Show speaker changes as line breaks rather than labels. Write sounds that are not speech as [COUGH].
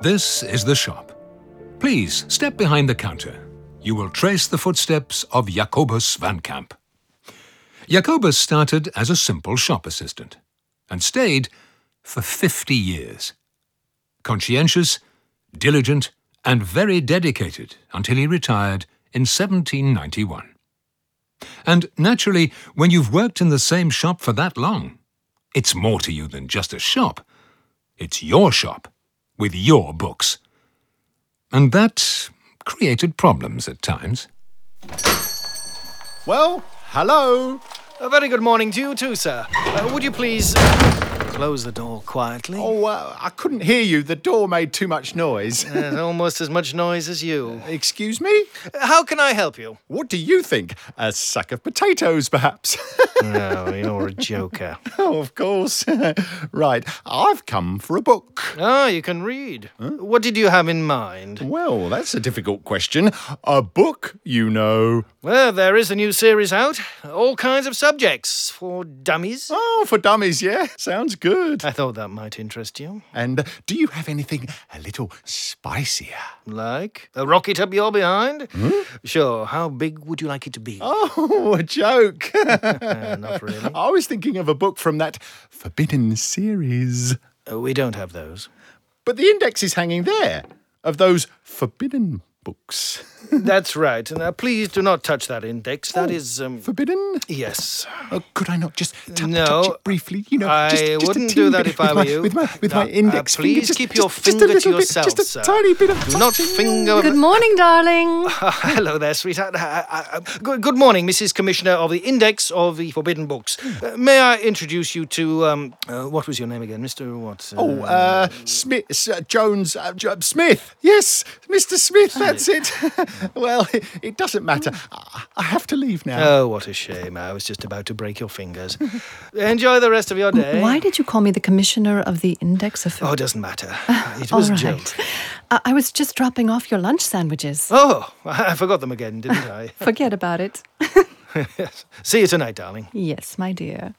This is the shop. Please step behind the counter. You will trace the footsteps of Jacobus van Camp. Jacobus started as a simple shop assistant and stayed for 50 years. Conscientious, diligent, and very dedicated until he retired in 1791. And naturally, when you've worked in the same shop for that long, it's more to you than just a shop. It's your shop, with your books. And that created problems at times.
Well, hello.
A very good morning to you too, sir. Uh, would you please uh, close the door quietly?
Oh, uh, I couldn't hear you. The door made too much noise.
There's almost as much noise as you.
Excuse me?
Uh, e, How can I help you?
What do you think? A sack of potatoes, perhaps? [LAUGHS]
Oh, you're a joker.
oh, of course. [LAUGHS] right, I've come for a book.
[LAUGHS] Ah, you can read. What did you have in mind?
Well, that's a difficult question. A book, you know.
Well, there is a new series out. All kinds of subjects for dummies.
Oh, for dummies, yeah. Sounds good.
I thought that might interest you.
And do you have anything a little spicier? [LAUGHS]
Like a rocket up your behind? Sure. How big would you like it to be?
Oh, a joke. [LAUGHS]
Uh, [LAUGHS] not really.
I was thinking of a book from that Forbidden series.
Uh, we don't have those. [LAUGHS]
But the index is hanging there of those forbidden books.
That's right. Now, please do not touch that index. That is, um,
Forbidden?
yes.
Oh, could I not just t-
No,
touch it briefly? You know, just,
I
just a
wouldn't
teeny
do that
bit
if I
with
were
my,
you.
With my, with
Now,
my index finger,
uh, please
just-
keep your
just- just a
finger to
little bit,
yourself,
Just a
sir.
tiny bit of
Do not
touching.
finger.
Good morning, darling.
[LAUGHS] Hello there, sweetheart. Uh, uh, uh, Good, good morning, Mrs. Commissioner of the Index of the Forbidden Books.
Hmm.
Uh, may I introduce you to um, uh, what was your name again, Mister What? Uh,
Oh, uh, Smith, Sir Jones, uh, Jo- Smith. Yes, Mr. Smith, that's it. well, it, [LAUGHS] it doesn't matter. I, I have to leave now.
oh, what a shame! I was just about to break your fingers. [LAUGHS] Enjoy the rest of your day.
Why did you call me the commissioner of the index of?
Oh, it doesn't matter.
Uh,
It was a
All
joke.
right. Uh, I-, I was just dropping off your lunch sandwiches.
Oh, [LAUGHS] I forgot them again, didn't I?
Forget about it.
See you tonight, darling.
Yes, my dear.